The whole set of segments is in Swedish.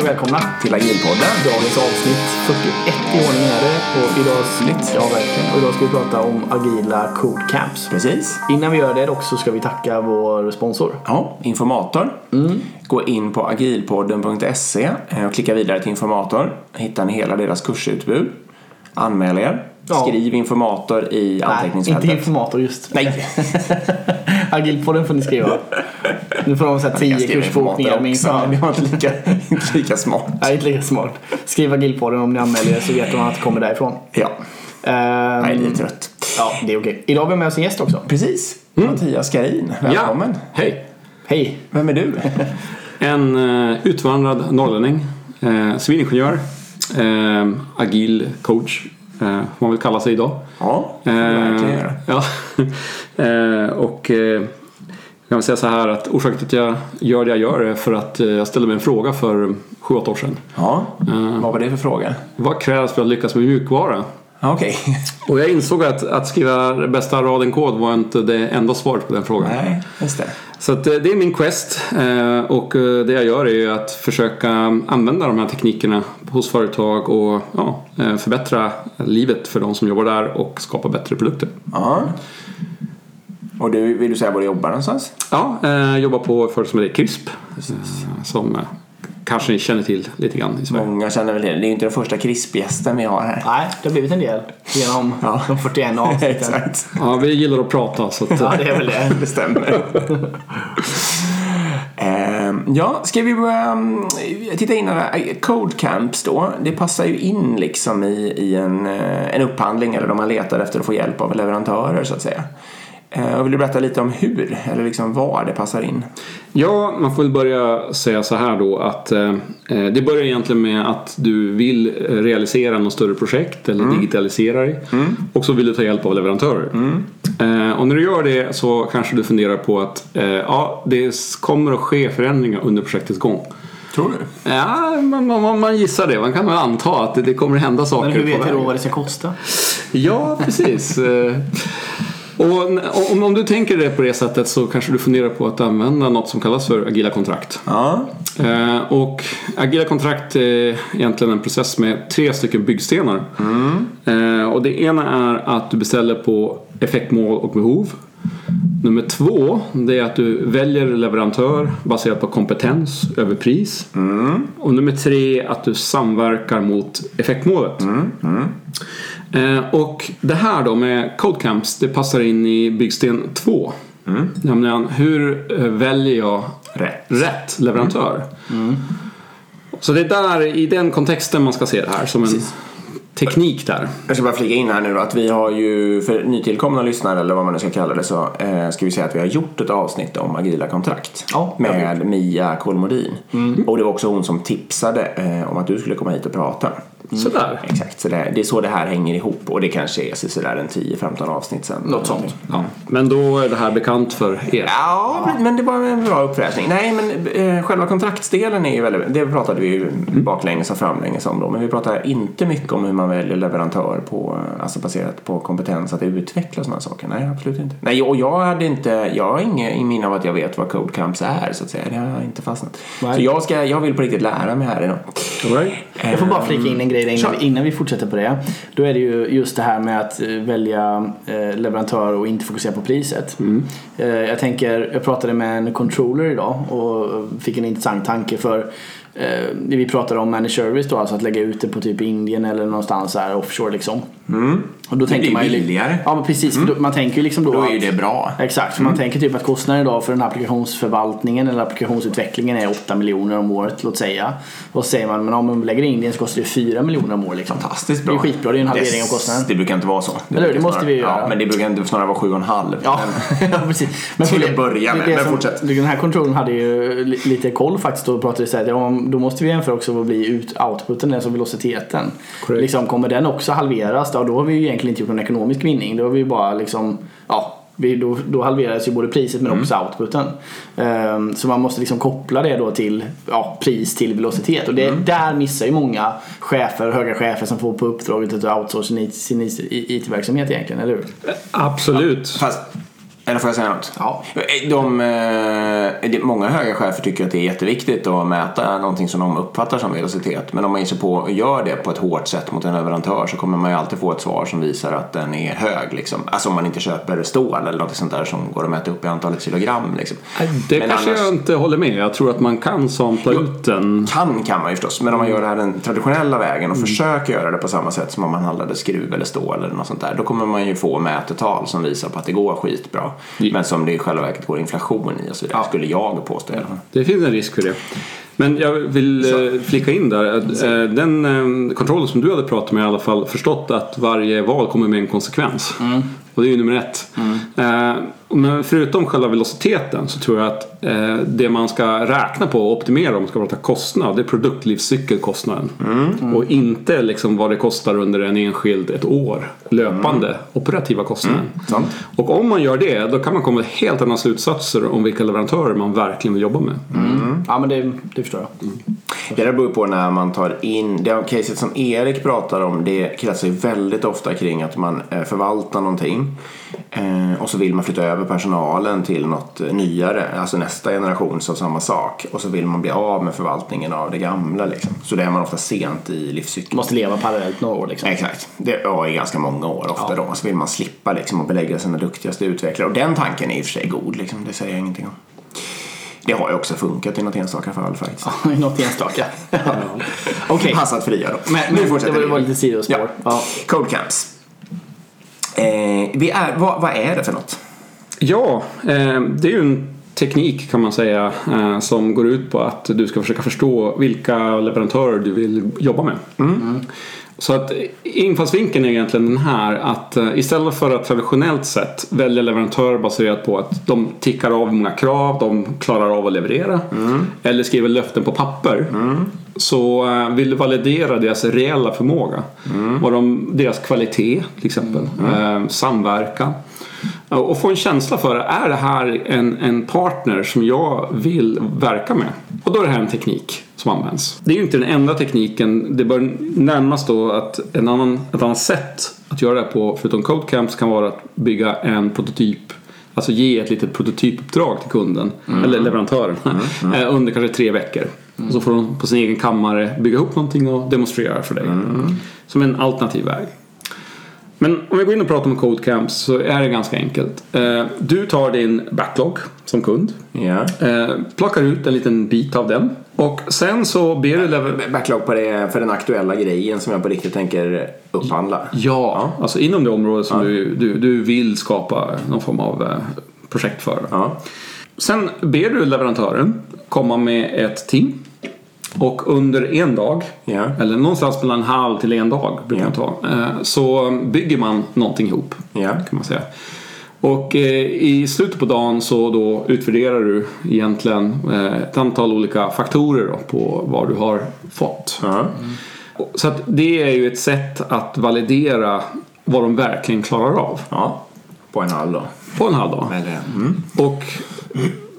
och välkomna till Agilpodden. Dagens avsnitt 41 i ordning är det. Och idag, Snyggt. ja, verkligen. Och idag ska vi prata om agila code camps. Precis. Innan vi gör det dock så ska vi tacka vår sponsor. Ja, informator. Gå in på agilpodden.se eh, och klicka vidare till informator. Hittar ni hela deras kursutbud. Anmäl er. Ja. Skriv informator i inte anteckningsfältet. informator just. Nej, Agilpodden får ni skriva. Nu får de säga jag 10 skrev kursbokningar informator med också. informator. Det var inte lika, inte lika smart. Nej, inte lika smart. Skriv Agilpodden om ni anmäler er så vet man att det kommer därifrån. Ja, Ehm, jag är lite trött. ja, det är okej. Idag har vi med oss en gäst också. Precis. Mattias Karin, välkommen. Ja, hej! Hej! Vem är du? En eh, utvandrad norrlänning, eh, civilingenjör, eh, agil coach, eh, får man väl kalla sig idag. Ja, det får du verkligen Eh, göra. ja. eh, och eh, jag kan väl säga så här att orsaken till att jag gör det jag gör är för att eh, jag ställde mig en fråga för 7-8 år sedan. Ja, vad var det för fråga? Vad krävs för att lyckas med mjukvara? Ja, Okej. Och jag insåg att, att skriva bästa raden kod var inte det enda svaret på den frågan. Nej, just det. Så att eh, det är min quest eh, och eh, det jag gör är ju att försöka använda de här teknikerna hos företag och ja, eh, förbättra livet för de som jobbar där och skapa bättre produkter. Ja. Och du, vill du säga var du jobbar någonstans? Ja, eh, jobbar på ett företag som heter CRISP eh, som eh, kanske ni känner till lite grann i Sverige. Många känner väl det. Det är ju inte den första krispgästen vi har här. Nej, det har blivit en del genom Ja. de 41 avsnitten. Exakt. Ja, vi gillar att prata så att, ja, eh, det är väl det. Det stämmer. Ehm, Ja, ska vi börja mm, titta in här. Code camps då. Det passar ju in liksom i, i en, eh, en upphandling eller om man letar efter att få hjälp av leverantörer så att säga. Eh, och Vill du berätta lite om hur eller liksom var det passar in? Ja, man får väl börja säga så här då att eh, det börjar egentligen med att du vill eh, realisera något större projekt eller Mm. digitalisera dig och så vill du ta hjälp av leverantörer. Mm. Eh, och när du gör det så kanske du funderar på att eh, ja, det s- kommer att ske förändringar under projektets gång. Tror du? Ja, man, man, man gissar det. Man kan väl anta att det, det kommer hända saker. Men hur på vet jag vägen. då vad det ska kosta? Ja, precis. Eh, Och n- om, om du tänker det på det sättet så kanske du funderar på att använda något som kallas för agila kontrakt. Ja. Eh, Och agila kontrakt är egentligen en process med tre stycken byggstenar. Eh, Och det ena är att du beställer på effektmål och behov. Nummer två, det är att du väljer leverantör baserat på kompetens över pris. Och nummer tre, att du samverkar mot effektmålet. mm. Eh, Och det här då med Codecamps, det passar in i byggsten två. Nämligen, hur eh, väljer jag Rätt. Mm. rätt Mm. leverantör. Så det är där, i den kontexten man ska se det här som en teknik där. Jag ska bara flika in här nu då, att vi har ju för nytillkomna lyssnare eller vad man nu ska kalla det så eh, ska vi säga att vi har gjort ett avsnitt om agila kontrakt Ja, det har vi Mm. med Mia Kolmodin. Och det var också hon som tipsade eh, om att du skulle komma hit och prata. Mm. Sådär. Exakt, så det, det är så det här hänger ihop och det kanske är så- sådär en 10-15 avsnitt sen. Något sånt. Ja. Men då är det här bekant för er. Ja, men det var en bra uppfräschning. Nej, men eh, själva kontraktsdelen är ju väldigt... Det pratade vi ju Mm. baklänges och framlänges om då. Men vi pratar inte mycket om hur man väljer leverantör på, eh, alltså baserat på kompetens att utveckla och sådana saker. Nej, absolut inte. Nej, och jag hade inte... Jag har inget i minne av att jag vet vad Code Camps är, så att säga. Det har inte fastnat. Nej. Så jag, ska, jag vill på riktigt lära mig här idag. All right. Jag får bara flika in en grej där innan, vi- innan vi fortsätter på det. Då är det ju just det här med att eh, välja eh, leverantör och inte fokusera på priset. Eh, Jag, tänker, jag pratade med en controller idag och fick en intressant tanke för eh, det vi pratade om managed service då, alltså att lägga ut det på typ Indien eller någonstans här offshore liksom. Och då tänker blir man ju li- billigare. Ja men precis, för då, man tänker ju liksom då, Då är ju att- det bra. Exakt, för man tänker typ att kostnaden idag för den här applikationsförvaltningen eller applikationsutvecklingen är 8 miljoner om året, låt säga. Och så säger man, men om man lägger in Indien så kostar det 4 miljoner om året. Liksom. Fantastiskt bra. Det är skitbra, det är en halvering av Yes, kostnaden. Det brukar inte vara så. Eller hur, det brukar måste vi ju snarare- göra. Ja, men det brukar inte snarare vara 7,5. Ja, ja, precis. Men Till för att börja det är med, det men som- fortsätt. Den här kontrollen hade ju li- lite koll faktiskt och pratade så här att ja, om- då måste vi jämföra också vad blir ut, outputen, alltså velociteten. Korrekt. Liksom, kommer den också halveras, då, då har vi ju egentligen inte gjort någon ekonomisk vinning. Då har vi ju bara liksom, ja, vi, då, då halveras ju både priset men Mm. också outputen. Ehm, så man måste liksom koppla det då till ja, pris till velocitet. Och det, Mm. där missar ju många chefer, höga chefer som får på uppdraget att outsourca sin IT- sin IT- IT-verksamhet egentligen, eller hur? Absolut. Fast Eller får jag säga något? Ja. De, eh, det- många höga chefer tycker att det är jätteviktigt att mäta någonting som de uppfattar som velocitet. Men om man ger sig på och gör det på ett hårt sätt mot en leverantör så kommer man ju alltid få ett svar som visar att den är hög. Liksom. Alltså om man inte köper stål eller något sånt där som går att mäta upp i antalet kilogram. Liksom. Det Men kanske annars- jag inte håller med. Jag tror att man kan sampla ut den. Kan kan man ju förstås, men om man gör det här den traditionella vägen och försöker göra det på samma sätt som om man handlade skruv eller stål eller något sånt där. Då kommer man ju få mätetal som visar på att det går skitbra. Ja. Men som det i själva verket går inflation i och så vidare. Skulle jag påstå i alla fall. Det finns en risk för det. Men jag vill eh, flika in där. att, eh, Den eh, kontroll som du hade pratat med i alla fall förstått att varje val kommer med en konsekvens. Mm. Och det är ju nummer ett. Eh, Men förutom själva velociteten så tror jag att eh, det man ska räkna på och optimera om man ska prata kostnad, det är produktlivscykelkostnaden. Mm. Och inte liksom vad det kostar under en enskild ett år löpande operativa kostnaden. Mm. Sant. Och om man gör det, då kan man komma till helt andra slutsatser om vilka leverantörer man verkligen vill jobba med. Mm. Ja, men det, det förstår jag. Det där beror ju på när man tar in, det caset som Erik pratar om det kretsar ju väldigt ofta kring att man eh, förvaltar någonting eh, och så vill man flytta över personalen till något eh, nyare, alltså nästa generation som samma sak och så vill man bli av med förvaltningen av det gamla liksom. Så det är man ofta sent i livscykeln. Måste leva parallellt några år liksom. Exakt, det ja, i ganska många år ofta då. Så vill man slippa liksom att belägga sina duktigaste utvecklare och den tanken är i och för sig god liksom, det säger jag ingenting om. Det har ju också funkat i något enstaka fall faktiskt. I något enstaka. Okej. Passat fria då. Men, men det var, det var lite sidospår. Ja. Ja. Code camps. Eh, vi är, vad, vad är det för något? Ja, eh, det är ju en teknik kan man säga eh, som går ut på att du ska försöka förstå vilka leverantörer du vill jobba med. Så att infallsvinkeln är egentligen den här att eh, istället för att traditionellt sett välja leverantörer baserat på att de tickar av hur många krav de klarar av att leverera eller skriver löften på papper så eh, vill du validera deras reella förmåga. Vad de, deras kvalitet till exempel, eh, samverkan. Och få en känsla för, är det här en, en partner som jag vill verka med? Och då är det här en teknik som används. Det är ju inte den enda tekniken. Det bör närmast då att en annan, ett annat sätt att göra det här på, förutom Codecamps, kan vara att bygga en prototyp. Alltså ge ett litet prototypuppdrag till kunden, eller leverantören, eh, under kanske tre veckor. Och så får de på sin egen kammare bygga ihop någonting och demonstrera för dig. Som en alternativ väg. Men om vi går in och pratar om Codecamps så är det ganska enkelt. Eh, Du tar din backlog som kund, Ja. eh, plockar ut en liten bit av den och sen så ber du lever- Backlog på det för den aktuella grejen som jag på riktigt tänker upphandla. Ja, alltså inom det område som du, du, du vill skapa någon form av eh, projekt för. Ja. Sen ber du leverantören komma med ett team och under en dag, Ja. eller någonstans mellan en halv till en dag brukar det ta, eh, så bygger man någonting ihop. Ja. kan man säga. Och eh, i slutet på dagen så då utvärderar du egentligen eh, ett antal olika faktorer då på vad du har fått. Ja. Och- Så att det är ju ett sätt att validera vad de verkligen klarar av ja. På en halv då. på en halv dag. Eller, mm. Och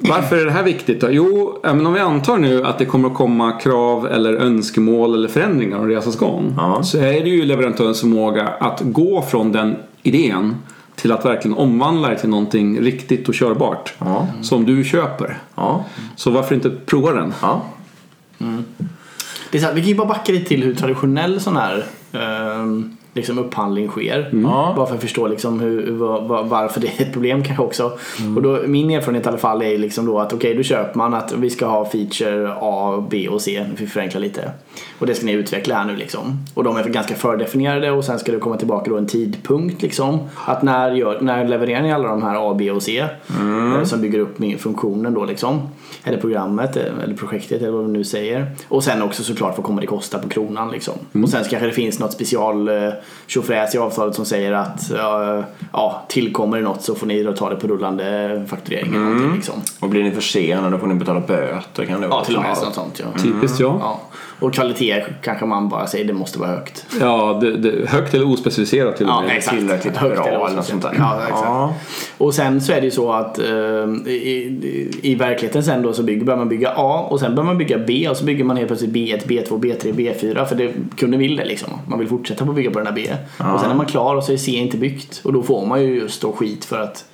varför är det här viktigt då? Jo, ja, men om vi antar nu att det kommer att komma krav eller önskemål eller förändringar under resans gång. Ja. Så är det ju leverantörens förmåga att gå från den idén till att verkligen omvandla det till någonting riktigt och körbart. Ja. Som du köper. Ja. Så varför inte prova den? Ja. Det är så här, vi kan ju bara backa lite till hur traditionell sån här ehm, liksom upphandling sker. Ja. Bara för att förstå liksom hur, vad- vad- varför det är ett problem kanske också. Och då, min erfarenhet i alla fall är liksom då att okej, då köper man att vi ska ha feature A, B och C. Vi förenklar lite. Och det ska ni utveckla här nu liksom. Och de är ganska fördefinierade och sen ska det komma tillbaka då en tidpunkt liksom. Att när, gör, när levererar ni alla de här A, B och C? eh, Som bygger upp min- funktionen då liksom. Eller programmet eh, eller projektet eller vad vi nu säger. Och sen också såklart vad kommer det kosta på kronan liksom. Och sen kanske det finns något special eh, tjofräs i avtalet som säger att eh, ja, tillkommer det något så får ni då ta det på rullande fakturering eller någonting liksom. Och blir ni försenade då får ni betala böter kan det vara. Ja, till och med sånt, sånt ja. Typiskt ja. ja. Och kvalitet kanske man bara säger det måste vara högt. ja det, det, högt eller ospecificerat till och med. exakt. tillräckligt bra eller eller något sånt där. Ja, exakt. Ja. Och sen så är det ju så att eh, i, i, i verkligheten sen då så bygger, börjar man bygga A och sen börjar man bygga B och så bygger man helt plötsligt B1, B2, B3, B4 för det, kunden vill det liksom. Man vill fortsätta på att bygga på den här B. Och sen är man klar och så är C inte byggt och då får man ju just då skit för att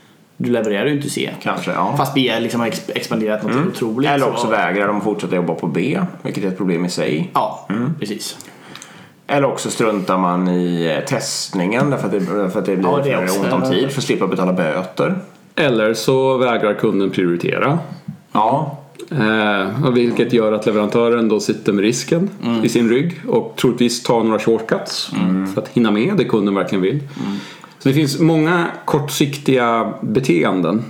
du levererar ju inte C. Kanske, ja. Fast B liksom har exp- expanderat något otroligt. Mm. Eller också så- vägrar de fortsätta jobba på B, vilket är ett problem i sig. Ja, Mm. precis. Eller också struntar man i eh, testningen därför att det, därför att det blir Ja, det är för också- ont om tid för att slippa betala böter. Eller så vägrar kunden prioritera. Ja, Eh, och vilket gör att leverantören då sitter med risken i sin rygg och troligtvis tar några shortcuts för att hinna med det kunden verkligen vill. Så det finns många kortsiktiga beteenden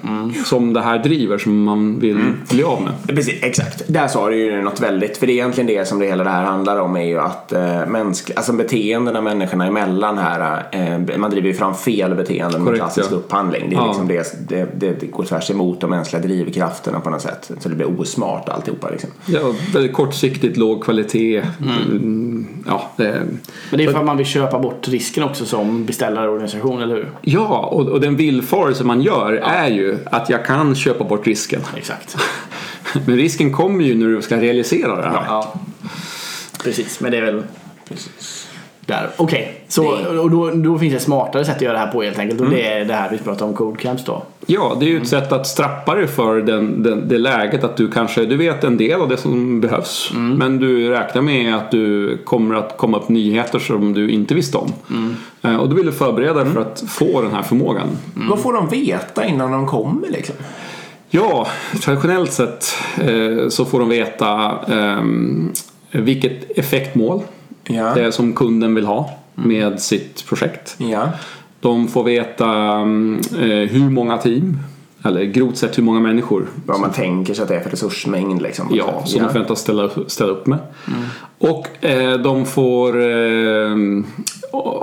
som det här driver som man vill bli av med. Precis, exakt. Där sa du ju något väldigt, för det är egentligen det som det hela det här handlar om är ju att eh, mänsk, alltså beteendena människorna emellan här, eh, man driver ju fram fel beteenden med Korrekt, klassisk ja. upphandling. Det, är Ja. liksom det, det, det går tvärs emot de mänskliga drivkrafterna på något sätt. Så det blir osmart alltihopa liksom. Ja, väldigt kortsiktigt, låg kvalitet. Mm, Ja, det, Men det är för att man vill köpa bort risken också som beställarorganisation, eller hur? ja och, och den villfarelse man gör är ju att jag kan köpa bort risken. Exakt. Men risken kommer ju när du ska realisera det här. Ja. Precis, men det är väl där. Okej, så och då, då finns det Mm. smartare sätt att göra det här på helt enkelt. Och det är det här vi pratar om, Codecamps då. Ja, det är ju ett Mm. sätt att strappa dig för den, den, det läget att du kanske du vet en del av det som behövs. Mm. Men du räknar med att du kommer att komma upp nyheter som du inte visste om. Mm. Eh, Och då vill du förbereda dig för att få den här förmågan. Vad får de veta innan de kommer liksom? Ja, traditionellt sett eh, så får de veta eh, vilket effektmål Ja. Mm. det är som kunden vill ha med sitt projekt. Ja. De får veta mm, eh, hur många team, eller grovt sett hur många människor Vad man tänker sig att det är för resursmängd liksom. på något Ja, sätt. som de förväntas ställa, ställa upp med. Och eh, de får eh,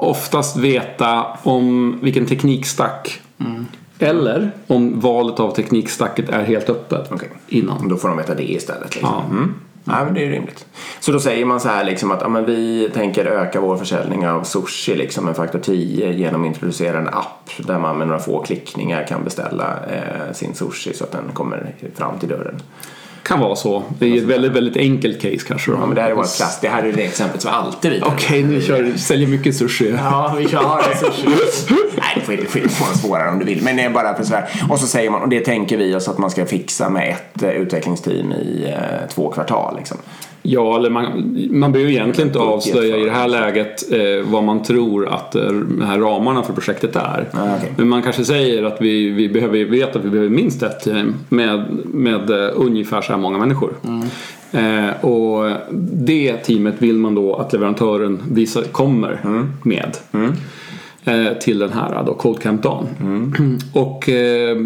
oftast veta om vilken teknikstack Mm. eller om valet av teknikstacket är helt öppet Okej. innan. Då får de veta det istället. Liksom. Ja. Mm. Ja, men det är ju rimligt. Så då säger man så här liksom att ja, men vi tänker öka vår försäljning av sushi liksom med faktor 10 genom att introducera en app där man med några få klickningar kan beställa eh, sin sushi så att den kommer fram till dörren. Kan vara så. Det är ett väldigt, väldigt enkelt case kanske. Då. Alltså- Ja, men det här är vårt klass. Det här är det exemplet som alltid vi tar. Okej, nu kör, säljer mycket sushi. Ja, vi kör Nej, det får- det får du få en svårare om du vill. Men det är bara för sådär. Och så säger man, och det tänker vi oss att man ska fixa med ett eh, utvecklingsteam i eh, två kvartal liksom. Ja, eller man, man behöver ju egentligen inte avslöja i det här läget eh, vad man tror att eh, de här ramarna för projektet är. Ah, okej. Men man kanske säger att vi, vi behöver vet att vi behöver minst ett team med, med eh, ungefär så här många människor. Mm. Eh, och det teamet vill man då att leverantören visar, kommer Mm. med. eh, till den här då, Cold Camp Dawn. Mm. Och eh,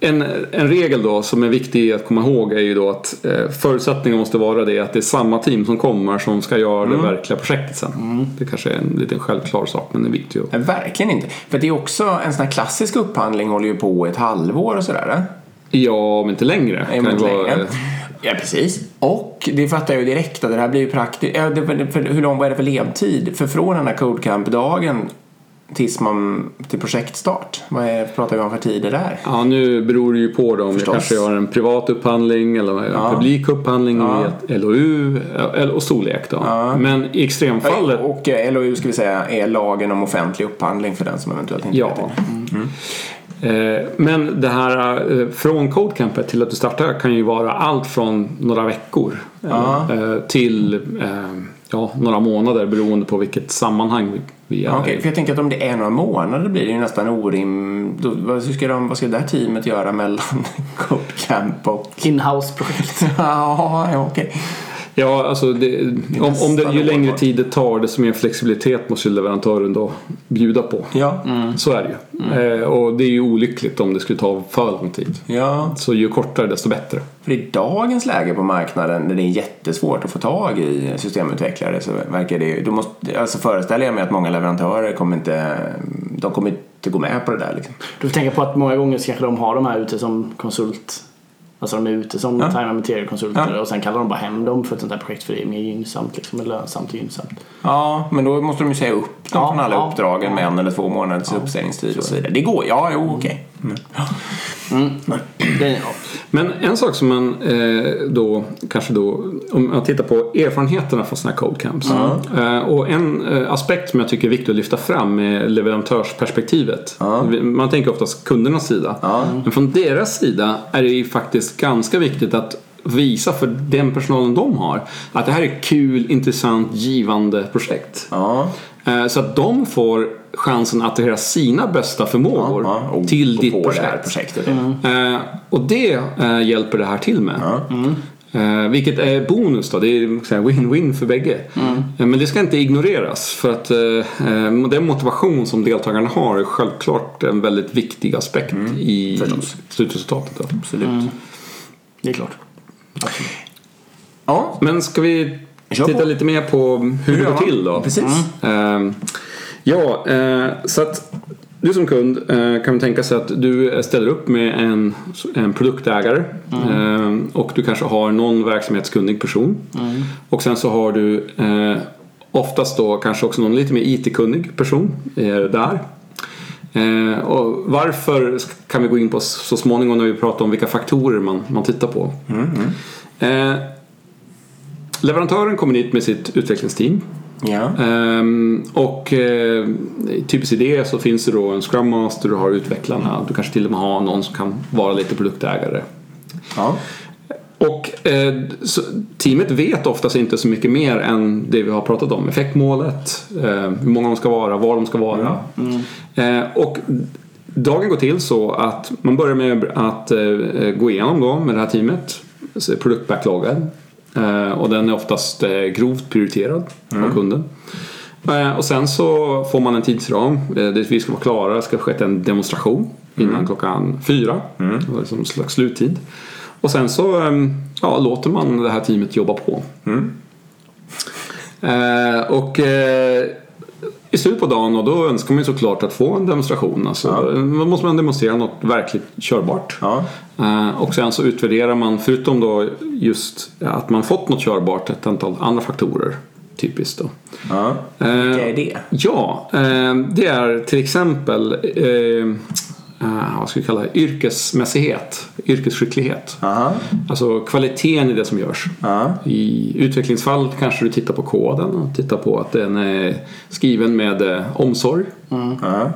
en, en regel då som är viktig att komma ihåg är ju då att eh, förutsättningen måste vara det att det är samma team som kommer som ska göra Mm. det verkliga projektet sen. Det kanske är en liten självklar sak men det är viktigt. att- Nej, Verkligen inte. För det är också en sån här klassisk upphandling håller ju på i ett halvår och sådär. eh? Ja, men inte längre. Nej, Kan men det vara, längre. eh, Ja, precis. Och det fattar jag ju direkt att det här blir ju praktiskt. Ja, det- för hur lång vad är det för ledtid? För från den här Codecamp-dagen tills man till projektstart. Vad är, pratar vi om för tider där? Ja, nu beror det ju på då om Förstås. jag kanske gör en privat upphandling eller en publik upphandling i ett LOU eller- och storlek då. Men i extremfallet Och eh, LOU ska vi säga är lagen om offentlig upphandling för den som eventuellt inte vet Ja. det. Eh, Men det här eh, från Codecampet till att du startar kan ju vara allt från några veckor eh, till eh, ja, några månader beroende på vilket sammanhang vi- vi är Ja, i. okej, för jag tänker att om det är några månader blir det ju nästan orimligt. Vad ska, de, vad ska det där teamet göra mellan Codecamp och... Inhouse-projekt. Ja, ja, okej. Ja, alltså det, om, om det, nästan ju längre ohållbart. tid det tar desto mer flexibilitet måste ju leverantören då bjuda på. Ja. Så är det ju. Eh, och det är ju olyckligt om det skulle ta för lång tid. ja. Så ju kortare desto bättre. För i dagens läge på marknaden när det är jättesvårt att få tag i systemutvecklare så verkar det ju, då måste, alltså föreställer jag mig att många leverantörer kommer inte, de kommer inte gå med på det där liksom. Du får tänka på att många gånger så kanske de har de här ute som konsult. Alltså de är ute som time and material-konsulter och sen kallar de bara hem dem för ett sånt här projekt för det är mer gynnsamt, liksom, eller lönsamt och gynnsamt. Ja, men då måste de ju säga upp dem Ja, från alla ja. uppdragen Mm. med en eller två månaders uppsägningstid och så vidare. Det går, ja, jo, okej. Mm. Den, ja. Men en sak som man eh, då kanske då, om man tittar på erfarenheterna från sådana här cold camps. Eh, och en eh, aspekt som jag tycker är viktig att lyfta fram är leverantörsperspektivet. Vi- Man tänker oftast kundernas sida. Men från deras sida är det ju faktiskt ganska viktigt att visa för den personalen de har att det här är kul, intressant, givande projekt. Ja. Eh, Så att de får chansen att attrahera sina bästa förmågor ja. Och- till och ditt få projekt. Det här projektet. Eh, och det eh, hjälper det här till med. Eh, vilket är bonus då, det är så här win-win för bägge. Eh, Men det ska inte ignoreras för att eh, eh, den motivation som deltagarna har är självklart en väldigt viktig aspekt i slutresultatet. Då. Mm. Absolut. det är klart. Ja. Men ska vi Kör titta på. lite mer på hur det gör går man? till då? Precis. Ehm, ja, eh, så att du som kund eh, kan tänka sig att du eh, ställer upp med en, en produktägare ehm, och du kanske har någon verksamhetskunnig person. Och sen så har du eh, oftast då kanske också någon lite mer IT-kunnig person eh, där. Eh, och varför sk- kan vi gå in på s- så småningom när vi pratar om vilka faktorer man, man tittar på. Eh, leverantören kommer dit med sitt utvecklingsteam. Ja. Ehm, och eh, typiskt i det så finns det då en Scrum Master, du har utvecklarna, du kanske till och med har någon som kan vara lite produktägare. ja. Och eh, så, teamet vet oftast inte så mycket mer än det vi har pratat om. Effektmålet, eh, hur många de ska vara, var de ska vara. Eh, och dagen går till så att man börjar med att eh, gå igenom då med det här teamet så produktbackloggen. Eh, och den är oftast eh, grovt prioriterad av kunden. Eh, Och sen så får man en tidsram. Eh, det- Vi ska vara klara, det ska ha skett en demonstration innan Mm. klockan fyra. Det var liksom en slags sluttid. Och sen så eh, ja, låter man det här teamet jobba på. Mm. Eh, Och eh, i slutet på dagen och då önskar man ju såklart att få en demonstration. Alltså, Då måste man demonstrera något verkligt körbart. Ja. Eh, Och sen så utvärderar man, förutom då just att man fått något körbart, ett antal andra faktorer. Typiskt då. Eh, ja. Vilka är det? Ja, eh, det är till exempel eh, eh, vad ska vi kalla det? yrkesmässighet, yrkesskicklighet. Aha. Alltså kvaliteten i det som görs. Ja. I utvecklingsfall kanske du tittar på koden och tittar på att den är skriven med eh, omsorg. Ja.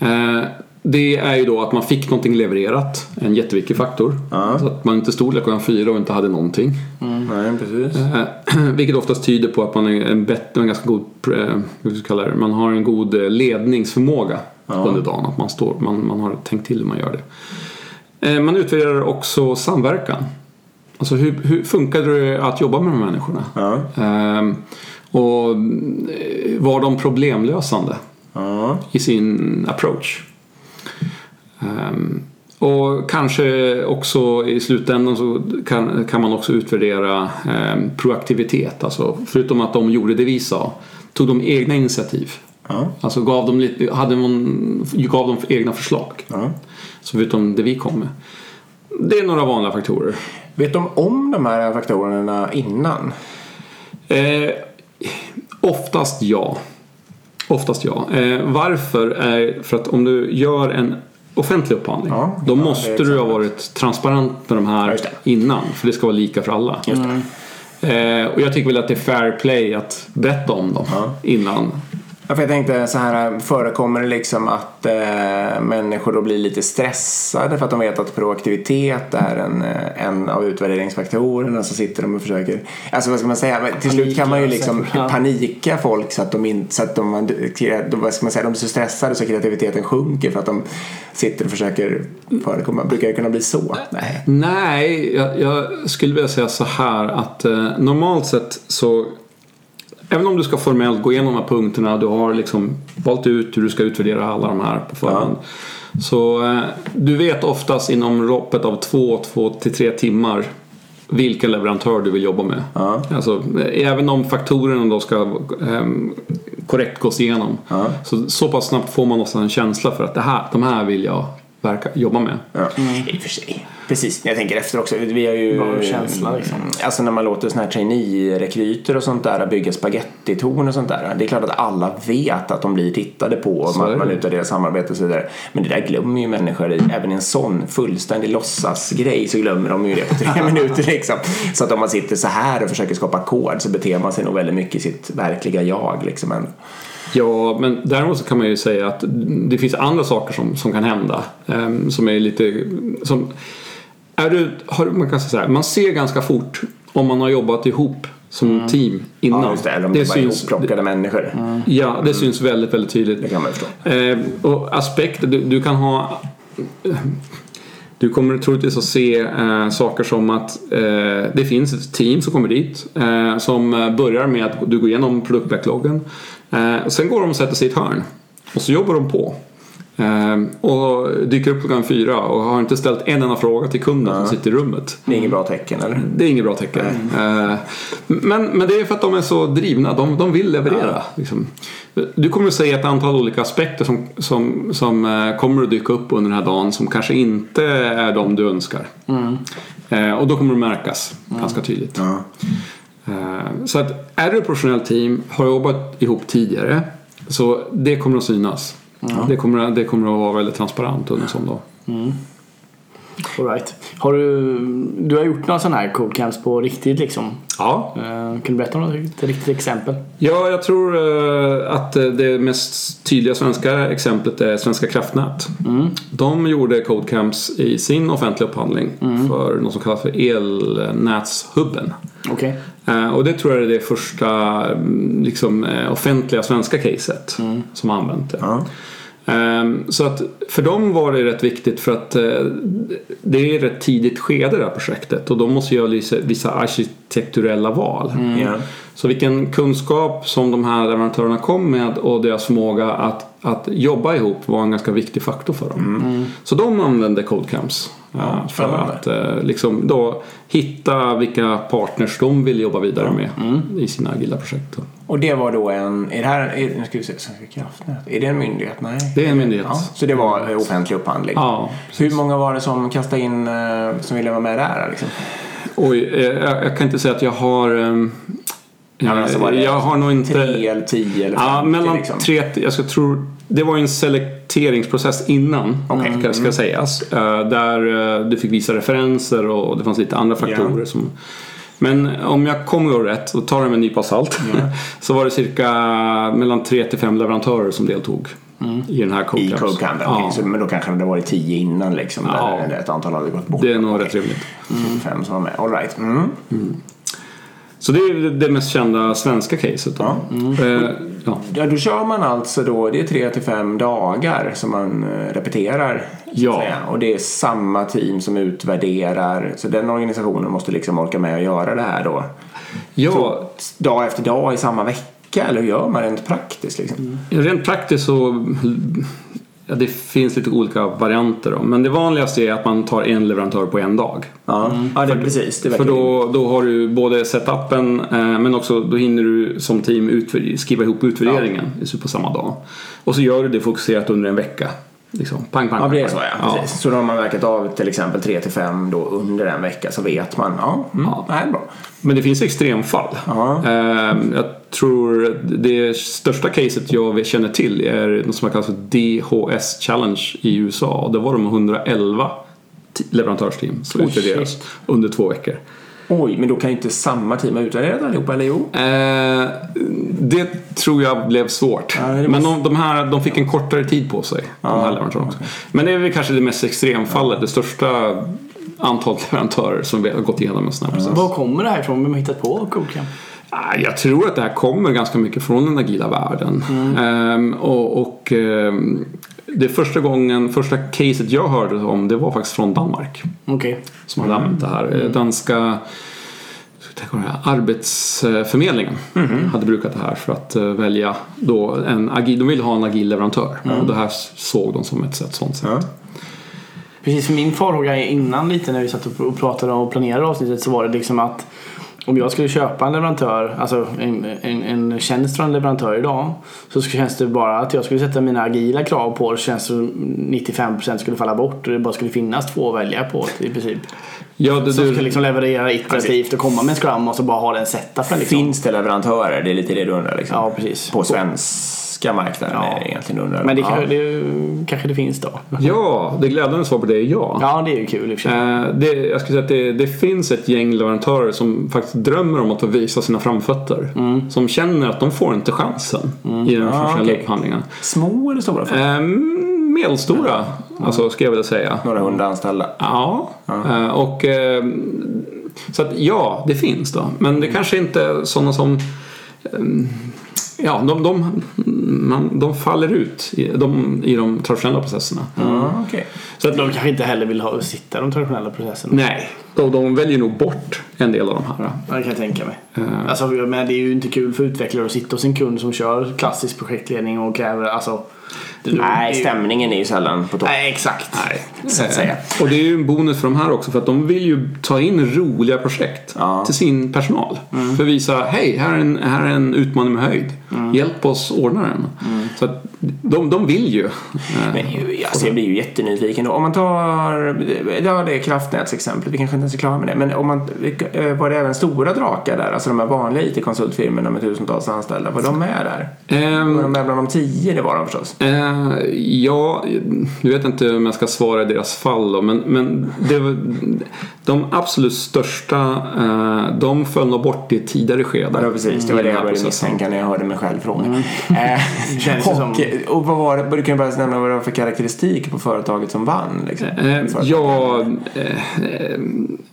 Eh, Det är ju då att man fick någonting levererat, en jätteviktig faktor. Så att man inte stod där klockan fyra och inte hade någonting. Mm. Nej, precis. Eh, Vilket oftast tyder på att man är en, bättre, en ganska god, eh, hur ska vi kalla det, man har en god eh, ledningsförmåga under dagen. Att man, står, man, man har tänkt till hur man gör det. Eh, Man utvärderar också samverkan. Alltså hur, hur funkar det att jobba med de här människorna? Ja. Ehm, Och eh, var de problemlösande Ja. i sin approach? Ehm, och kanske också i slutändan så kan, kan man också utvärdera ehm, proaktivitet. Alltså, förutom att de gjorde det vi sa, tog de egna initiativ. Ja. Alltså gav de, lite- hade man, gav de egna förslag. Ja. Så förutom det vi kom med. Det är några vanliga faktorer. Vet de om de här faktorerna innan? Eh, oftast ja. Oftast ja. Eh, varför? Är, för att om du gör en offentlig upphandling Ja, då ja, det måste är du ha varit transparent med de här just det. innan. För det ska vara lika för alla. Eh, och jag tycker väl att det är fair play att berätta om dem innan. Ja, för jag tänkte så här, förekommer det liksom att eh, människor då blir lite stressade för att de vet att proaktivitet är en, eh, en av utvärderingsfaktorerna så sitter de och försöker, alltså vad ska man säga, Men till slut kan man ju Panika, liksom säkert, ja. panika folk så att de inte, så att de, de, vad ska man säga, de är så stressade så kreativiteten sjunker för att de sitter och försöker förekomma, brukar det kunna bli så? Nej. Nej, jag, jag skulle vilja säga så här att eh, normalt sett så Även om du ska formellt gå igenom de här punkterna, du har liksom valt ut hur du ska utvärdera alla de här på förhand. Så eh, du vet oftast inom loppet av två, två till tre timmar vilken leverantör du vill jobba med. Alltså, eh, även om faktorerna då ska eh, korrekt gås igenom. Så, så pass snabbt får man också en känsla för att det här, de här vill jag verka, jobba med. Ja. I och för sig. Precis. Mm. Jag tänker efter också. Vi har ju... Bra känsla, liksom. Alltså när man låter sådana här trainee-rekryter och sånt där bygga spagettitorn och sånt där. Det är klart att alla vet att de blir tittade på och Så är man, man det. utvärderar samarbete och så vidare. Men det där glömmer ju människor i, även i en sån fullständig låtsasgrej så glömmer de ju det på tre minuter liksom. Så att om man sitter så här och försöker skapa kod så beter man sig nog väldigt mycket i sitt verkliga jag liksom. ändå. Ja, men däremot så kan man ju säga att det finns andra saker som, som kan hända. ehm, som är lite... Som, är du, har, man kan säga så här, man ser ganska fort om man har jobbat ihop som team innan. Mm. Ja, just det. Eller om det, bara är ihopplockade människor. ja, det syns väldigt, väldigt tydligt. Mm. Det kan man ju förstå. Eh, och aspekter, du, du kan ha... Du kommer troligtvis att se eh, saker som att eh, det finns ett team som kommer dit eh, som eh, börjar med att du går igenom produktbackloggen. Eh, och sen går de och sätter sig i ett hörn och så jobbar de på. Eh, och dyker upp klockan fyra och har inte ställt en enda fråga till kunden som sitter i rummet. Det är inget bra tecken eller? Det är inget bra tecken. Eh, Men, men det är för att de är så drivna. De, de vill leverera. Liksom. Du kommer att se ett antal olika aspekter som, som, som eh, kommer att dyka upp under den här dagen som kanske inte är de du önskar. Eh, Och då kommer det märkas ganska tydligt. Eh, Så att är du ett professionellt team, har jobbat ihop tidigare, så det kommer att synas. Det, kommer, att- det kommer att vara väldigt transparent under en sån dag. All right. Har du, du har gjort några sådana här codecamps på riktigt liksom? Ja, Eh, kan du berätta om något ett riktigt exempel? Ja, jag tror eh, att eh, det mest tydliga svenska exemplet är Svenska kraftnät. De gjorde Codecamps i sin offentliga upphandling för något som kallas för elnätshubben. Okej. Eh, Och det tror jag är det första mm, liksom, eh, offentliga svenska caset som har använt det. Ja. Ehm, Så att för dem var det rätt viktigt för att eh, det är rätt tidigt skede det här projektet och de måste göra vissa- vissa arkitekturella val. Mm. Ja. Så vilken kunskap som de här leverantörerna kom med och deras förmåga att, att jobba ihop var en ganska viktig faktor för dem. Så de använde Codecamps eh, för Mm. spännande. att eh, liksom då hitta vilka partners de vill jobba vidare med Mm. i sina agila projekt. då. Och det var då en, är det här, är, nu ska vi se, Svenska kraftnät, är det en myndighet? Nej. Det är en myndighet. Ja, så det var eh, offentlig upphandling. Ja. Hur många var det som kastade in, eh, som ville vara med där? Liksom? Oj, eh, jag, jag kan inte säga att jag har... ehm, men alltså var Jag, det jag har nog inte... Tre eller tio eller Ja, femtio, mellan liksom. tre, jag ska tro, det var ju en selekteringsprocess innan, Okej. Mm. ska, ska sägas. eh, Där eh, du fick visa referenser och det fanns lite andra faktorer. Som, men om jag kommer ihåg rätt, och tar det med en nypa salt, så var det cirka mellan tre till fem leverantörer som deltog i den Mm. I här Codecamps. Codecamp, Ja, ja. men då kanske det hade varit tio innan liksom. Ja. Där ett antal hade gått bort. Mm. Det är nog rätt rimligt. Fem som var med. All right. Mm. Så det är det mest kända svenska caset. Då. Mm. Eh, ja. Ja, då kör man alltså då, det är tre till fem dagar som man eh, repeterar. så att Ja. säga. Och det är samma team som utvärderar. Så den organisationen måste liksom orka med att göra det här då. ja, Dag efter dag i samma vecka, eller hur gör man rent praktiskt? Liksom? Rent praktiskt så ja, det finns lite olika varianter. Då. Men det vanligaste är att man tar en leverantör på en dag. Ja. ja, det är precis. Det är För verkligen- då, då har du både setupen eh, men också då hinner du som team utvärdera- skriva ihop utvärderingen i- på samma dag. Och så gör du det fokuserat under en vecka. Liksom. Pang, pang, Ja, det är pang, så pang. ja. Precis. Så då har man verkat av till exempel 3 till 5 då under en vecka så vet man. Ja, mm, Ja. det här är bra. Men det finns extremfall. Ja. Eh, Jag tror det största caset jag känner till är något som kallas för DHS Challenge i USA. Och Där var de 111 t- leverantörsteam som Oh, Oj, utvärderas shit. under två veckor. Oj, men då kan ju inte samma team ha utvärderat allihopa, eller jo? Eh, det tror jag blev svårt. det måste- Men de, de här de fick en kortare tid på sig. De här leverantörerna också. Men det är väl kanske det mest extremfallet. Det största antalet leverantörer som vi har gått igenom en sån här process. Var kommer det här ifrån? Vem har hittat på codecamp? Ah, Jag tror att det här kommer ganska mycket från den agila världen. Ehm, och och ehm, det första gången, första caset jag hörde om det var faktiskt från Danmark. Okej. Som hade använt det här. Eh, Danska tänk om det här, Arbetsförmedlingen hade brukat det här för att eh, välja då en agil, de ville ha en agil leverantör. Och det här såg de som ett sätt, sånt sätt. Precis, för min farhåga är innan lite när vi satt och pr- och pratade och planerade avsnittet så var det liksom att om jag skulle köpa en leverantör, alltså en, en, en tjänst från en leverantör idag så sk- känns det bara att jag skulle sätta mina agila krav på det så känns det som 95% skulle falla bort och det bara skulle finnas två att välja på i princip. Ja, det, Som du, skulle liksom leverera iterativt och komma med en scrum och så bara ha den setupen liksom. Finns det leverantörer? Det är lite det du undrar liksom. Ja, precis. På svenska marknaden Ja. är det egentligen du undrar. Men det, kan- ja. det kanske det finns då. ja, det glädjande svar på det är ja. Ja, det är ju kul i och för sig. Eh, Det, jag skulle säga att det, det finns ett gäng leverantörer som faktiskt drömmer om att få visa sina framfötter. Som känner att de får inte chansen i den första okej. upphandlingen. Små eller stora företag? Eh, Medelstora, alltså ska jag vilja säga. Några hundra anställda. Ja, eh, och eh, så att ja, det finns då. Men det kanske inte är sådana som eh, Ja, de, de, man, de faller ut i de, i de traditionella processerna. Ja, okej. Så att de kanske inte heller vill ha, sitta i de traditionella processerna. Nej, de, de väljer nog bort en del av de här. Ja, det kan jag tänka mig. Alltså, men det är ju inte kul för utvecklare att sitta hos en kund som kör klassisk projektledning och kräver alltså... det- det är Nej, ju- stämningen är ju sällan på topp. Nej, exakt. Nej, så att säga. Eh, Och det är ju en bonus för de här också för att de vill ju ta in roliga projekt Ja. Mm. till sin personal. För att visa, hej, här är en, här är en utmaning med höjd. Hjälp oss ordna den. Mm. Så att de, de vill ju. Men ju- alltså, jag blir ju jättenyfiken. Om man tar ja, det är kraftnätsexemplet, vi kanske inte ens är klara med det. Men om man, eh, var det även stora drakar där? Alltså de här vanliga IT-konsultfirmorna med tusentals anställda, var de med där? Ehm, Var de med bland de tio? Det var de förstås. Eh, ja, nu vet jag inte om jag ska svara i deras fall då, men, men det, var- de absolut största, eh, de föll nog bort i tidigare skeden. Ja, precis. Mm. Det var det jag började Processen. misstänka när jag hörde mig själv fråga. Känns Eh, det och, som- och vad var det, du kan ju bara nämna vad det var för karaktäristik på företaget som vann. Liksom. Eh, Företaget. ja, eh, eh,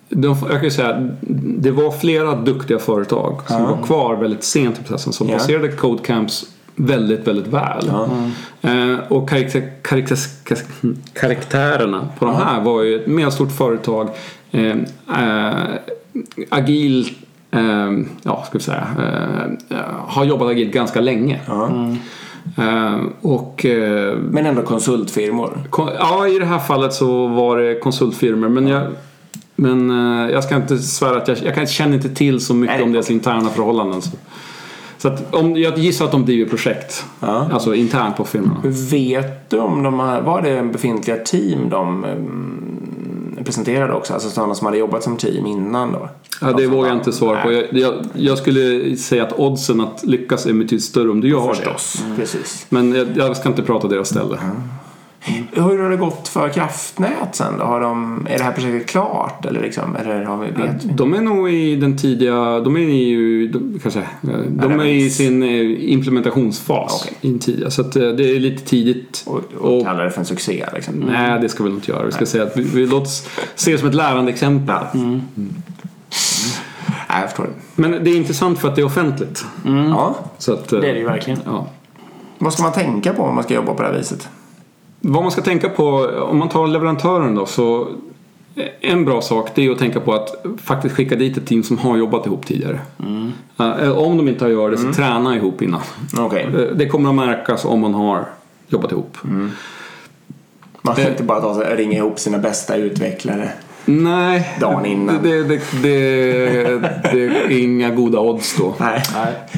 de, jag kan ju säga det var flera duktiga företag som var kvar väldigt sent i processen som Ja. baserade Codecamps väldigt, väldigt väl. Eh, och karaktär, karaktär, karaktärerna på de här var ju ett medelstort företag, eh, eh, agil eh, ja, ska vi säga, eh, har jobbat agilt ganska länge. Eh, och eh, Men ändå konsultfirmor. Kon- Ja, i det här fallet så var det konsultfirmor. Men jag, men eh, jag ska inte svära att jag, jag kan- känner inte till så mycket Nej. om deras interna förhållanden. Så, så att, om, jag gissar att de driver projekt. Ja. Alltså internt på firman. Vet du om de här, var det befintliga team de mm, presenterade också? Alltså sådana som hade jobbat som team innan då? Ja, det De som vågar vann? jag inte svara på. Alltså, Nej, Jag, jag, jag skulle säga att oddsen att lyckas är betydligt större om du gör det. Förstås, Mm. precis. Men jag, jag ska inte prata deras ställe. Hur har det gått för kraftnät sen då? Har de, är det här projektet klart eller liksom, eller har vi, vet vi? De är nog i den tidiga, de är ju, de, kan jag säga, eh, de är i remiss. sin eh, implementationsfas. Okej. I den tidiga, så att eh, det är lite tidigt. Och, och, Och- Mm. kallar det för en succé liksom? Nej, det ska vi nog inte göra. Vi ska säga att vi, vi låt oss se det som ett lärande exempel. Nej, jag förstår det. Men det är intressant för att det är offentligt. Ja. Så att, eh, Det är det ju verkligen. Ja. Vad ska man tänka på om man ska jobba på det här viset? Vad man ska tänka på, om man tar leverantören då, så en bra sak det är att tänka på att faktiskt skicka dit ett team som har jobbat ihop tidigare. Eh, Om de inte har gjort det så träna ihop innan. Okej. Eh, Det kommer att märkas om man har jobbat ihop. Man ska inte bara ta sig, ringa ihop sina bästa utvecklare. Nej, Dagen innan. Det, det, det, det är inga goda odds då. Nej.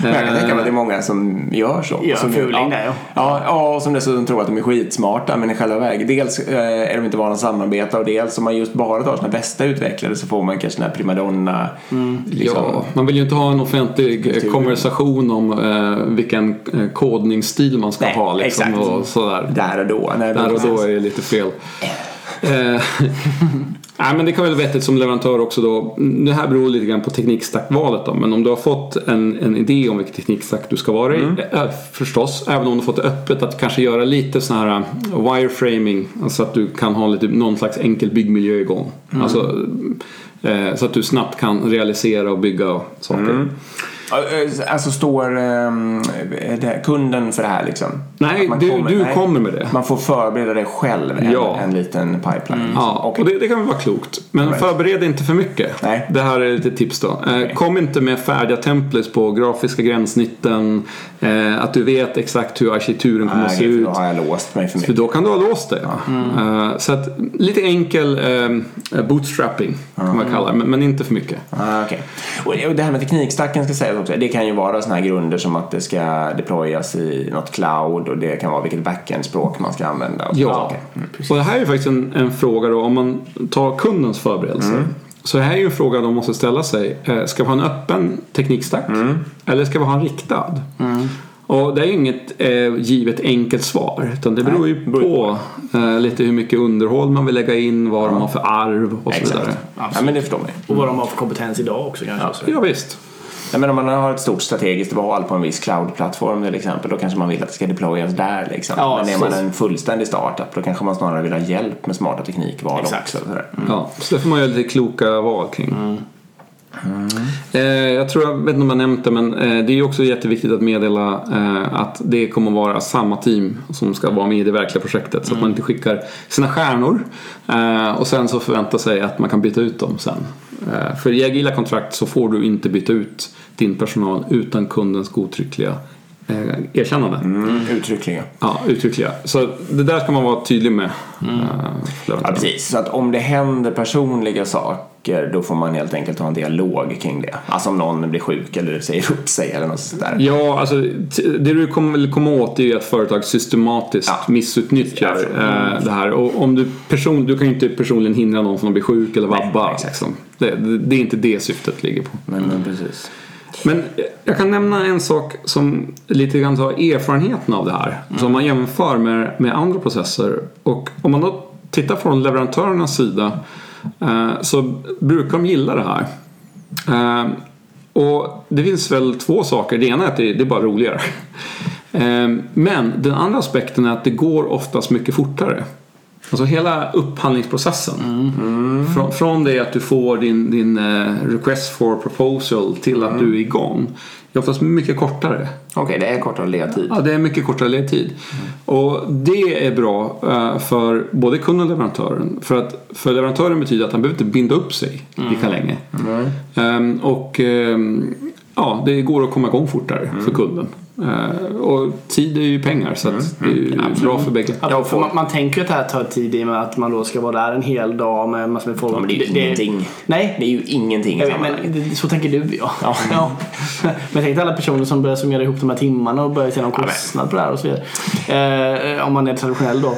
Men jag kan Eh. tänka mig att det är många som gör så. Gör som fuling där, ja. ja. Ja, och som dessutom tror att de är skitsmarta men i själva verket dels eh, är de inte vana att samarbeta och dels om man just bara tar sina bästa utvecklare så får man kanske den här primadonna Mm. liksom, Ja, man vill ju inte ha en offentlig eh, konversation om eh, vilken eh, kodningsstil man ska Nej, ha. Liksom, exakt. och sådär. där och då. När Där och då är det lite fel. Eh, Nej, men det kan väl vara vettigt som leverantör också då. Det här beror lite grann på teknikstackvalet då. Men om du har fått en, en idé om vilken teknikstack du ska vara i. eh, Förstås, även om du har fått det öppet att kanske göra lite sån här eh, wireframing. Alltså att du kan ha lite, någon slags enkel byggmiljö igång. Alltså, eh, så att du snabbt kan realisera och bygga saker. Alltså står ehm, det här, kunden för det här liksom? Nej, Att man du- du kommer med det. Man får förbereda det själv, en, Ja. Mm. en liten pipeline. liksom. Ja, Okej. och det, det kan väl vara klokt. Men förbered inte för mycket. Nej. Det här är lite tips då. Eh, Kom inte med färdiga templates på grafiska gränssnitten. eh, Att du vet exakt hur arkitekturen kommer att se Nej, för ut. då har jag låst mig för För mycket. då kan du ha låst det. Mm. Eh, Så att, lite enkel eh, bootstrapping kan man kalla det, men, men inte för mycket. Ah, okej. Och- Och det här med teknikstacken ska sägas också. Det kan ju vara sådana här grunder som att det ska deployas i något cloud och det kan vara vilket backend-språk man ska använda. och sådana Ja, saker. Mm. och det här är ju faktiskt en, en fråga då om man tar kundens förberedelser. Mm. Så det här är ju en fråga de måste ställa sig. Eh, Ska vi ha en öppen teknikstack Mm. eller ska vi ha en riktad? Och det är ju inget eh, givet enkelt svar utan det beror ju beror ju på eh, lite hur mycket underhåll man vill lägga in, vad de har för arv och så vidare. Exakt. Ja, men det förstår man ju. Och vad de har för kompetens idag också kanske. Så. Ja, visst. Nej, men om man har ett stort strategiskt val på en viss cloud-plattform till exempel då kanske man vill att det ska deployas där. Liksom. Ja, men är precis. man en fullständig startup då kanske man snarare vill ha hjälp med smarta teknikval Exakt. också. Sådär. Ja, så det får man göra lite kloka val kring. Eh, jag tror, jag vet inte om jag nämnt det, men eh, det är ju också jätteviktigt att meddela eh, att det kommer vara samma team som ska vara med i det verkliga projektet. Så att man inte skickar sina stjärnor eh, och sen så förväntar sig att man kan byta ut dem sen. Eh, för i agila kontrakt så får du inte byta ut din personal utan kundens godtryckliga eh, erkännande. Mm, uttryckligen. Ja, uttryckliga. Så det där ska man vara tydlig med. eh, för Ja, leverantören. precis. Mm. Så att om det händer personliga saker då får man helt enkelt ha en dialog kring det. Alltså om någon blir sjuk eller säger upp sig eller något sånt där. Ja, alltså, t- det du kommer väl komma åt är ju att företag systematiskt Ja. missutnyttjar Alltså, eh, det här. Och om du, person, du kan ju inte personligen hindra någon från att bli sjuk eller vabba. exakt. liksom. det, det, det är inte det syftet ligger på. Men, men precis. Men jag kan nämna en sak som lite grann har erfarenheten av det här. Som man jämför med, med andra processer. Och om man då tittar från leverantörernas sida eh, så brukar de gilla det här. Eh, och det finns väl två saker. Det ena är att det, det är bara roligare. Eh, men den andra aspekten är att det går oftast mycket fortare. Alltså hela upphandlingsprocessen. Mm. Från, från det att du får din, din eh, request for proposal till att Mm. du är igång. Det är oftast mycket kortare. Okej, det är kortare ledtid. Ja, det är mycket kortare ledtid. Mm. Och det är bra eh, för både kunden och leverantören. För, att, för leverantören betyder att han behöver inte binda upp sig Mm. lika länge. Ehm, och ehm, ja, det går att komma igång fortare för Mm. kunden. Eh, och tid är ju pengar så att det är Mm. ju bra för bägge. Att, Jag får- man, man tänker att det här tar tid i och med att man då ska vara där en hel dag med massor med folk. Ja, men det är ju ingenting. Nej, Det är ju ingenting i Jag vet, sammanhanget. men det- så tänker du ja. ja. men tänk dig alla personer som börjar summera ihop de här timmarna och börjar se någon men- kostnad på det här och så vidare. Eh, Eh, om man är traditionell då.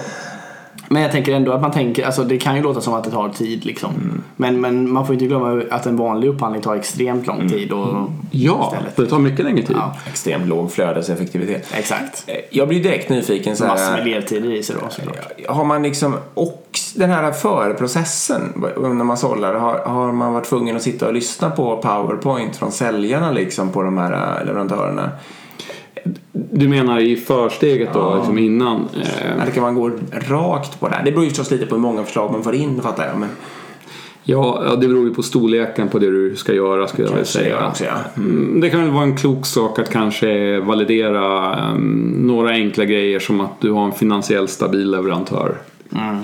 Men jag tänker ändå att man tänker, alltså det kan ju låta som att det tar tid liksom. Men, men man får inte glömma att en vanlig upphandling tar extremt lång tid. Och, Ja, istället. för det tar mycket längre tid. Ja. Extremt låg flödeseffektivitet. Exakt. Eh, Jag blir direkt nyfiken. Så Massor här, med ledtider i sig då såklart. Har man liksom och den här förprocessen när man sållar, har, har man varit tvungen att sitta och lyssna på powerpoint från säljarna liksom på de här äh, leverantörerna? Du menar i försteget då, liksom innan? Eh, Eller kan man gå rakt på det här? Det beror ju förstås lite på hur många förslag man får in fattar jag. Men Ja, ja, det beror ju på storleken på det du ska göra skulle jag vilja Kanske det säga. också, ja. Mm, det kan väl vara en klok sak att kanske validera eh, några enkla grejer som att du har en finansiellt stabil leverantör.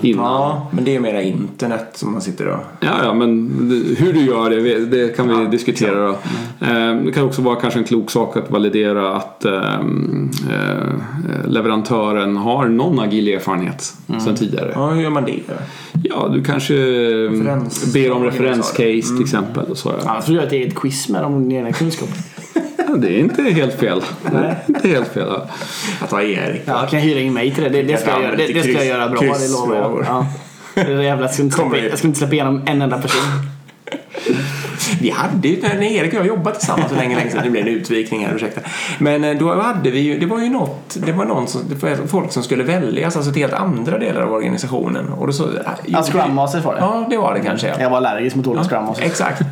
Innan. Ja. Mm. ja, men det är ju mera internet som man sitter och... Ja, men det- hur du gör det, vi- det kan vi diskutera. Då. Mm. Eh, Det kan också vara kanske en klok sak att validera att eh, eh, leverantören har någon agil erfarenhet Mm. sedan tidigare. Ja, hur gör man det? Ja, du kanske mm, Referens- ber om Ja, referenscase till exempel. Och så, ja. Annars får du göra ett eget quiz med dem om din egna kunskap. Det är inte helt fel. Det är inte helt fel. ja. Att ta Erik. Ja, kan jag hyra in mig till det? Det, det, ska, jag, göra- det, det ska jag göra bra, det lovar jag. Ja. Det där jävla, jag, skulle inte släppa, jag skulle inte släppa igenom en enda person. Vi hade ju, när Erik och jag jobbade tillsammans så länge, länge sedan, det blev en utvikning här, ursäkta. Men eh, då hade vi ju, det var ju något, det var någon som, det var folk som skulle väljas, alltså till helt andra delar av organisationen. Och då så... Ja, Scrum Masters var det. Ja, det var det kanske ja. Jag var allergisk mot dåliga Scrum Masters. Exakt.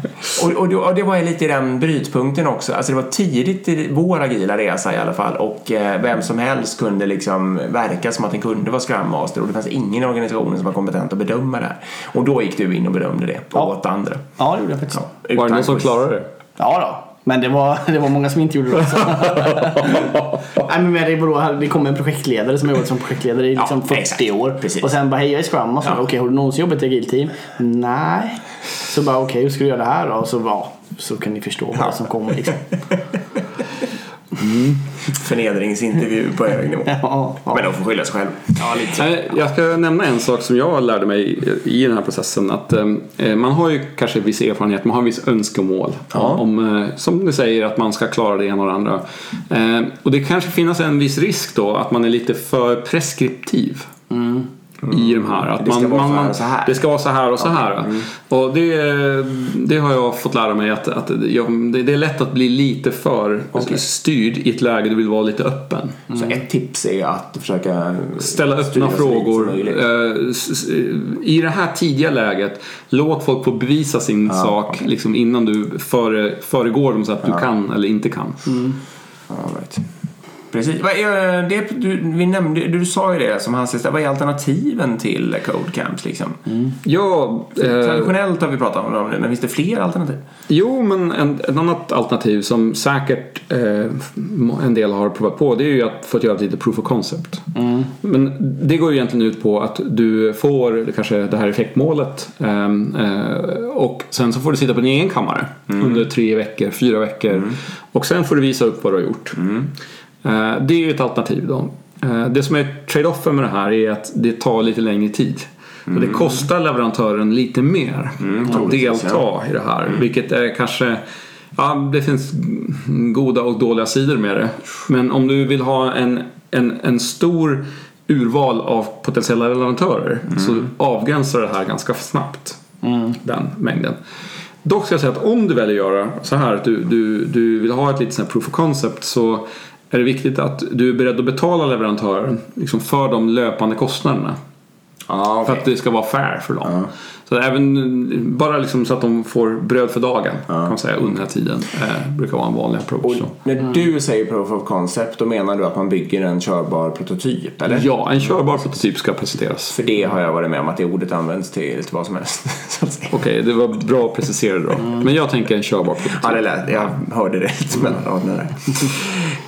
Och, och, då- och det var ju lite i den brytpunkten också. Alltså det var tidigt i vår agila resa i alla fall och eh, vem som helst kunde liksom verka som att den kunde vara Scrum Master och det fanns ingen i organisationen som var kompetent att bedöma det här. Och då gick du in och bedömde det och Ja. åt andra. Ja, det gjorde jag faktiskt. Utan Var det någon som quiz. klarade det? Ja då. Men det var, det var många som inte gjorde det också. Nej, men det, beror, det kom en projektledare som har jobbat som projektledare i liksom 40 exakt. år. Precis. Och sen bara, hej jag är scrum. Och så, Okej, har du någonsin jobbat i ett agilt team? Nej. Så bara, okej hur ska du göra det här då? Och så, ja, så kan ni förstå vad som kommer. Liksom. Förnedringsintervju på hög nivå. Ja, ja. Men de får skylla sig själva. Ja, lite Nej, Jag ska nämna en sak som jag lärde mig i- i den här processen. Att eh, man har ju kanske viss erfarenhet, man har viss önskemål. Om, eh, som du säger, att man ska klara det ena och det andra. Eh, och det kanske finns en viss risk då att man är lite för preskriptiv. I de här. Att Mm. Det ska man, vara man, så här man, och så här. Mm. Det ska vara så här och så här. Och det, det har jag fått lära mig att, att jag, det, det är lätt att bli lite för styrd i ett läge du vill vara lite öppen. Så ett tips är ju att försöka Ställa styra öppna så lite som frågor. möjligt. Eh, s- s- eh, I det här tidiga läget, låt folk få bevisa sin sak liksom, innan du före, föregår dem så att du kan eller inte kan. All right. Precis. Vad är eh, det, du, vi nämnde, du sa ju det som hans sista. Vad är alternativen till code camps? Liksom? Mm. Ja, eh, Traditionellt har vi pratat om dem nu, men finns det fler alternativ? jo, men en, ett annat alternativ som säkert eh, en del har provat på det är ju att få göra ett litet proof of concept. Men det går ju egentligen ut på att du får kanske det här effektmålet ehm, eh, och sen så får du sitta på din egen kammare under tre veckor, fyra veckor och sen får du visa upp vad du har gjort. Eh, det är ju ett alternativ då. Eh, det som är trade-offen med det här är att det tar lite längre tid. Och det kostar leverantören lite mer att delta i det här, vilket är kanske Ja, det finns goda och dåliga sidor med det. Men om du vill ha en, en, en stor urval av potentiella leverantörer så avgränsar det här ganska snabbt. Den mängden. Dock ska jag säga att om du väljer att göra så här att du, du, du vill ha ett litet sånt här proof of concept så är det viktigt att du är beredd att betala leverantören liksom för de löpande kostnaderna. Ja, För att det ska vara fair för dem. Så att även, bara liksom så att de får bröd för dagen kan man säga, under den här tiden. Eh, brukar vara en vanlig approach. då. När du säger proof of concept, då menar du att man bygger en körbar prototyp, eller? Ja, en körbar prototyp ska presenteras. För det har jag varit med om, att det ordet används till, till vad som helst. så att säga. Okej, det var bra preciserat då. Men jag tänker en körbar prototyp. Ja, det lät, jag hörde rätt mellan raderna där.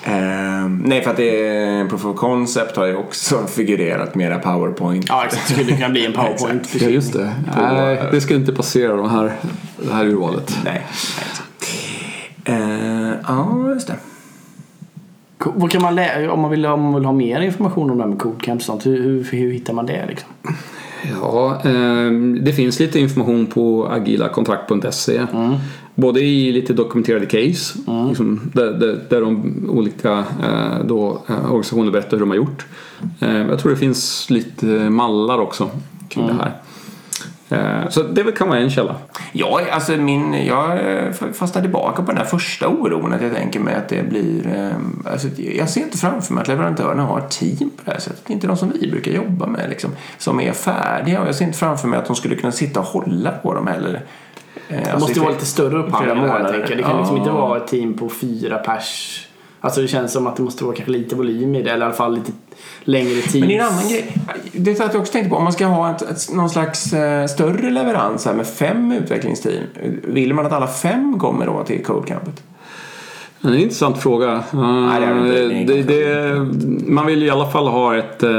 Ehm, nej, för att det, proof of concept har ju också figurerat mera powerpoint. Ja, exakt. Det skulle kunna bli en powerpoint. Ja, just det. eh, Nej, det ska inte passera de här, det här urvalet. Nej. Eh, ja, just det. Vad kan man lä- om, man vill, om man vill ha mer information om det här med Codecamp och sånt, hur, hur, hur hittar man det? Liksom? Ja, ehm, det finns lite information på agilakontrakt.se. Mm. Både i lite dokumenterade case, liksom, där, där, där de olika eh, då, eh, organisationer berättar hur de har gjort. Eh, jag tror det finns lite mallar också kring Mm. det här. Eh, så det väl kan vara en källa. Jag, är- alltså min, jag eh, fastnar tillbaka på den här första oron att jag tänker mig att det blir... eh, Alltså, jag ser inte framför mig att leverantörerna har team på det här sättet. Inte de som vi brukar jobba med liksom, som är färdiga. Och jag ser inte framför mig att de skulle kunna sitta och hålla på dem heller. Eh, Det måste ju vara lite större flera upphandling här, månader. jag tänker. Det kan liksom Ja. inte vara ett team på fyra pers. Alltså det känns som att det måste vara kanske lite volym i det eller i alla fall lite längre tid. Men det är en annan grej. Det är så att jag också tänkte på. Om man ska ha ett, ett, någon slags eh, större leverans här med fem utvecklingsteam. Vill man att alla fem kommer då till Codecampet? Det är en intressant fråga. Nej, det är det inte. Eh, det, det, man vill ju i alla fall ha ett eh,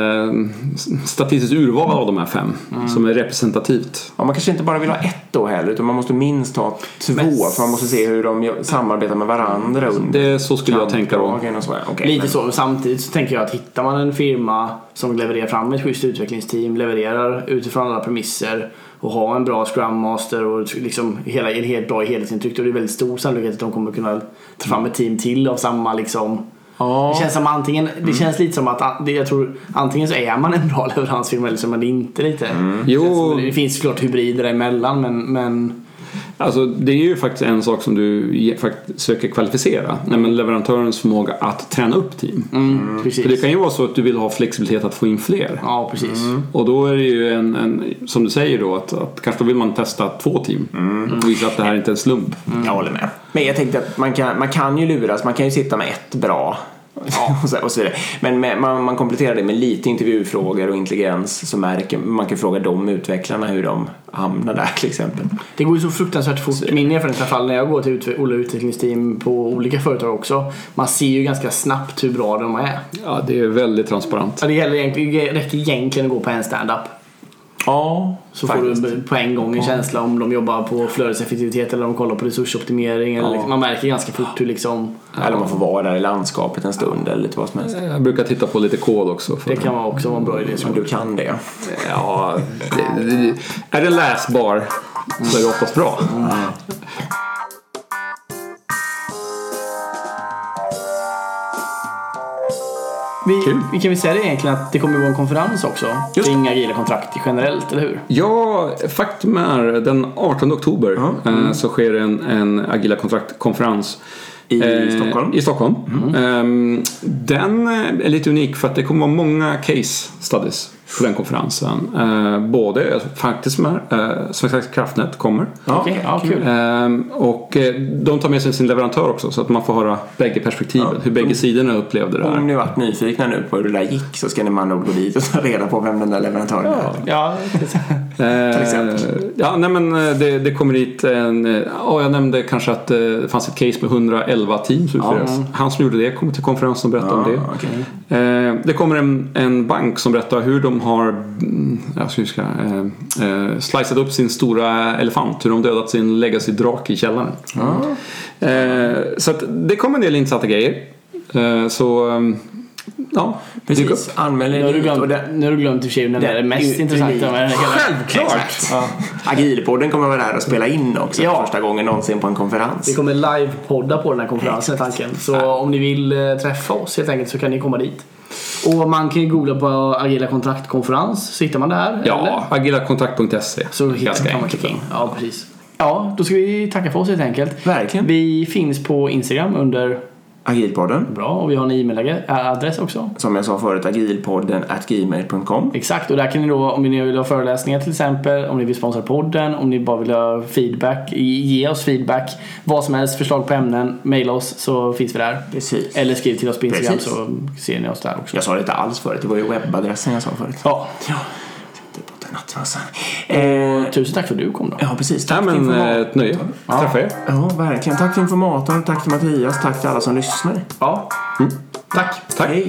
statistiskt urval av de här fem Mm. som är representativt. Ja, man kanske inte bara vill ha ett då heller utan man måste minst ha två för man måste se hur de gör- samarbetar med varandra under Det, så skulle jag tänka då. kampdagen och sådär. Okej, Lite men- så, men samtidigt så tänker jag att hittar man en firma som levererar fram ett schysst utvecklingsteam, levererar utifrån alla premisser och har en bra Scrum Master och liksom hela, en helt bra helhetsintryck då är det väldigt stor sannolikhet att de kommer kunna ta fram ett team till av samma liksom Ja. Det känns, som antingen, det Mm. känns lite som att an- det, jag tror, antingen så är man en bra leveransfirma eller så är man det inte. Lite. Det, känns Mm. Jo. som- det finns såklart hybrider emellan men, men Alltså, det är ju faktiskt en sak som du ge- fakt- söker kvalificera. Nej, men leverantörens förmåga att träna upp team. Mm. För det precis. kan Mm. ju vara så att du vill ha flexibilitet att få in fler. Ja, precis. Och då är det ju en, en som du säger då, att, att kanske då vill man testa två team. Och visa att det här inte är en slump. Jag håller med. Men jag tänkte att man kan, man kan ju luras. Man kan ju sitta med ett bra Ja. och, så, och så vidare. Men med, man, man kompletterar det med lite intervjufrågor och intelligens så märker, man kan fråga de utvecklarna hur de hamnar där till exempel. Det går ju så fruktansvärt fort. Min erfarenhet i alla fall när jag går till utve- olika utvecklingsteam på olika företag också. Man ser ju ganska snabbt hur bra de är. Ja, det är väldigt transparent. Ja, det, gäller egentligen, det räcker egentligen att gå på en stand-up. Ja, Så får du på en gång en känsla om de jobbar på flödeseffektivitet eller om de kollar på resursoptimering. Eller Ja. liksom, man märker ganska fort hur liksom, Eller man får vara där i landskapet en stund eller lite vad som helst. Jag brukar titta på lite kod också. För, det kan vara också vara en bra idé. Om Som du kan det. Ja, det, det, är den läsbar så är det oftast bra. vi, vi kan väl säga det egentligen att det kommer vara en konferens också Just. kring agila kontrakt generellt, eller hur? Ja, faktum är den 18 oktober eh, så sker en, en agila kontraktkonferens. I Stockholm? Mhm. I Stockholm. Ehm, den eh, är lite unik för att det kommer vara många case studies på den konferensen. Eh, både faktiskt med eh, Svenska kraftnät kommer. Ja, Okej, ja, kul. Ehm, och eh, de tar med sig sin leverantör också så att man får höra bägge perspektiven. Hur bägge sidorna upplevde det Om här. ni varit nyfikna nu på hur det där gick så ska ni man nog gå dit och ta reda på vem den där leverantören är. Ja, Eh, exempel. ja, nej, men eh, det, det kommer hit en... eh, Ja, jag nämnde kanske att eh, det fanns ett case med 111 teams utredas. Han som gjorde det kommer till konferensen och berättar om det. okej. Mm. Eh, det kommer en, en bank som berättar hur de har mm, alltså, hur ska, jag, eh, eh, slicat upp sin stora elefant. Hur de dödat sin legacy-drake i källaren. Eh, så att, det kommer en del intressanta grejer. Eh, så, eh, ja. dyk upp. Precis, anmäl nu, har er du dit. och glömt, det- nu har du glömt i och för sig den det- där mest det- intressanta med den här hela- Exakt. Ja. Agilpodden kommer vara där och spela in också för Ja. första gången någonsin på en Vi konferens. kommer live-podda på den här konferensen är tanken. Så om ni vill eh, träffa oss helt enkelt så kan ni komma dit. Och man kan ju googla på Agila kontraktkonferens så hittar man det här. eller? Ja, agilakontakt.se. Så hittar E. Ganska kan man enkelt, klicka in. Ja, precis. Ja, då ska vi tacka för oss helt enkelt. Verkligen. Vi finns på Instagram under Agilpodden, bra och vi har en e-mailadress också. som jag sa förut, agilpodden at gmail.com. Exakt, och där kan ni då om ni vill ha föreläsningar till exempel, om ni vill sponsra podden, om ni bara vill ha feedback, ge oss feedback, vad som helst, förslag på ämnen, mejla oss så finns vi där. Precis. Eller skriv till oss på Instagram Precis. så ser ni oss där också. Jag sa det inte alls förut, det var ju webbadressen jag sa förut. Ja, Det är borta nattmössan. Eh, tusen tack för att du kom då. ja, precis. Tack Ja, till men eh, informatorn. ett nöje. Träffa er. Ja, verkligen. Mm. Tack till informatorn, tack till Mattias, tack till alla som lyssnar. Ja. Tack. Tack. Hej.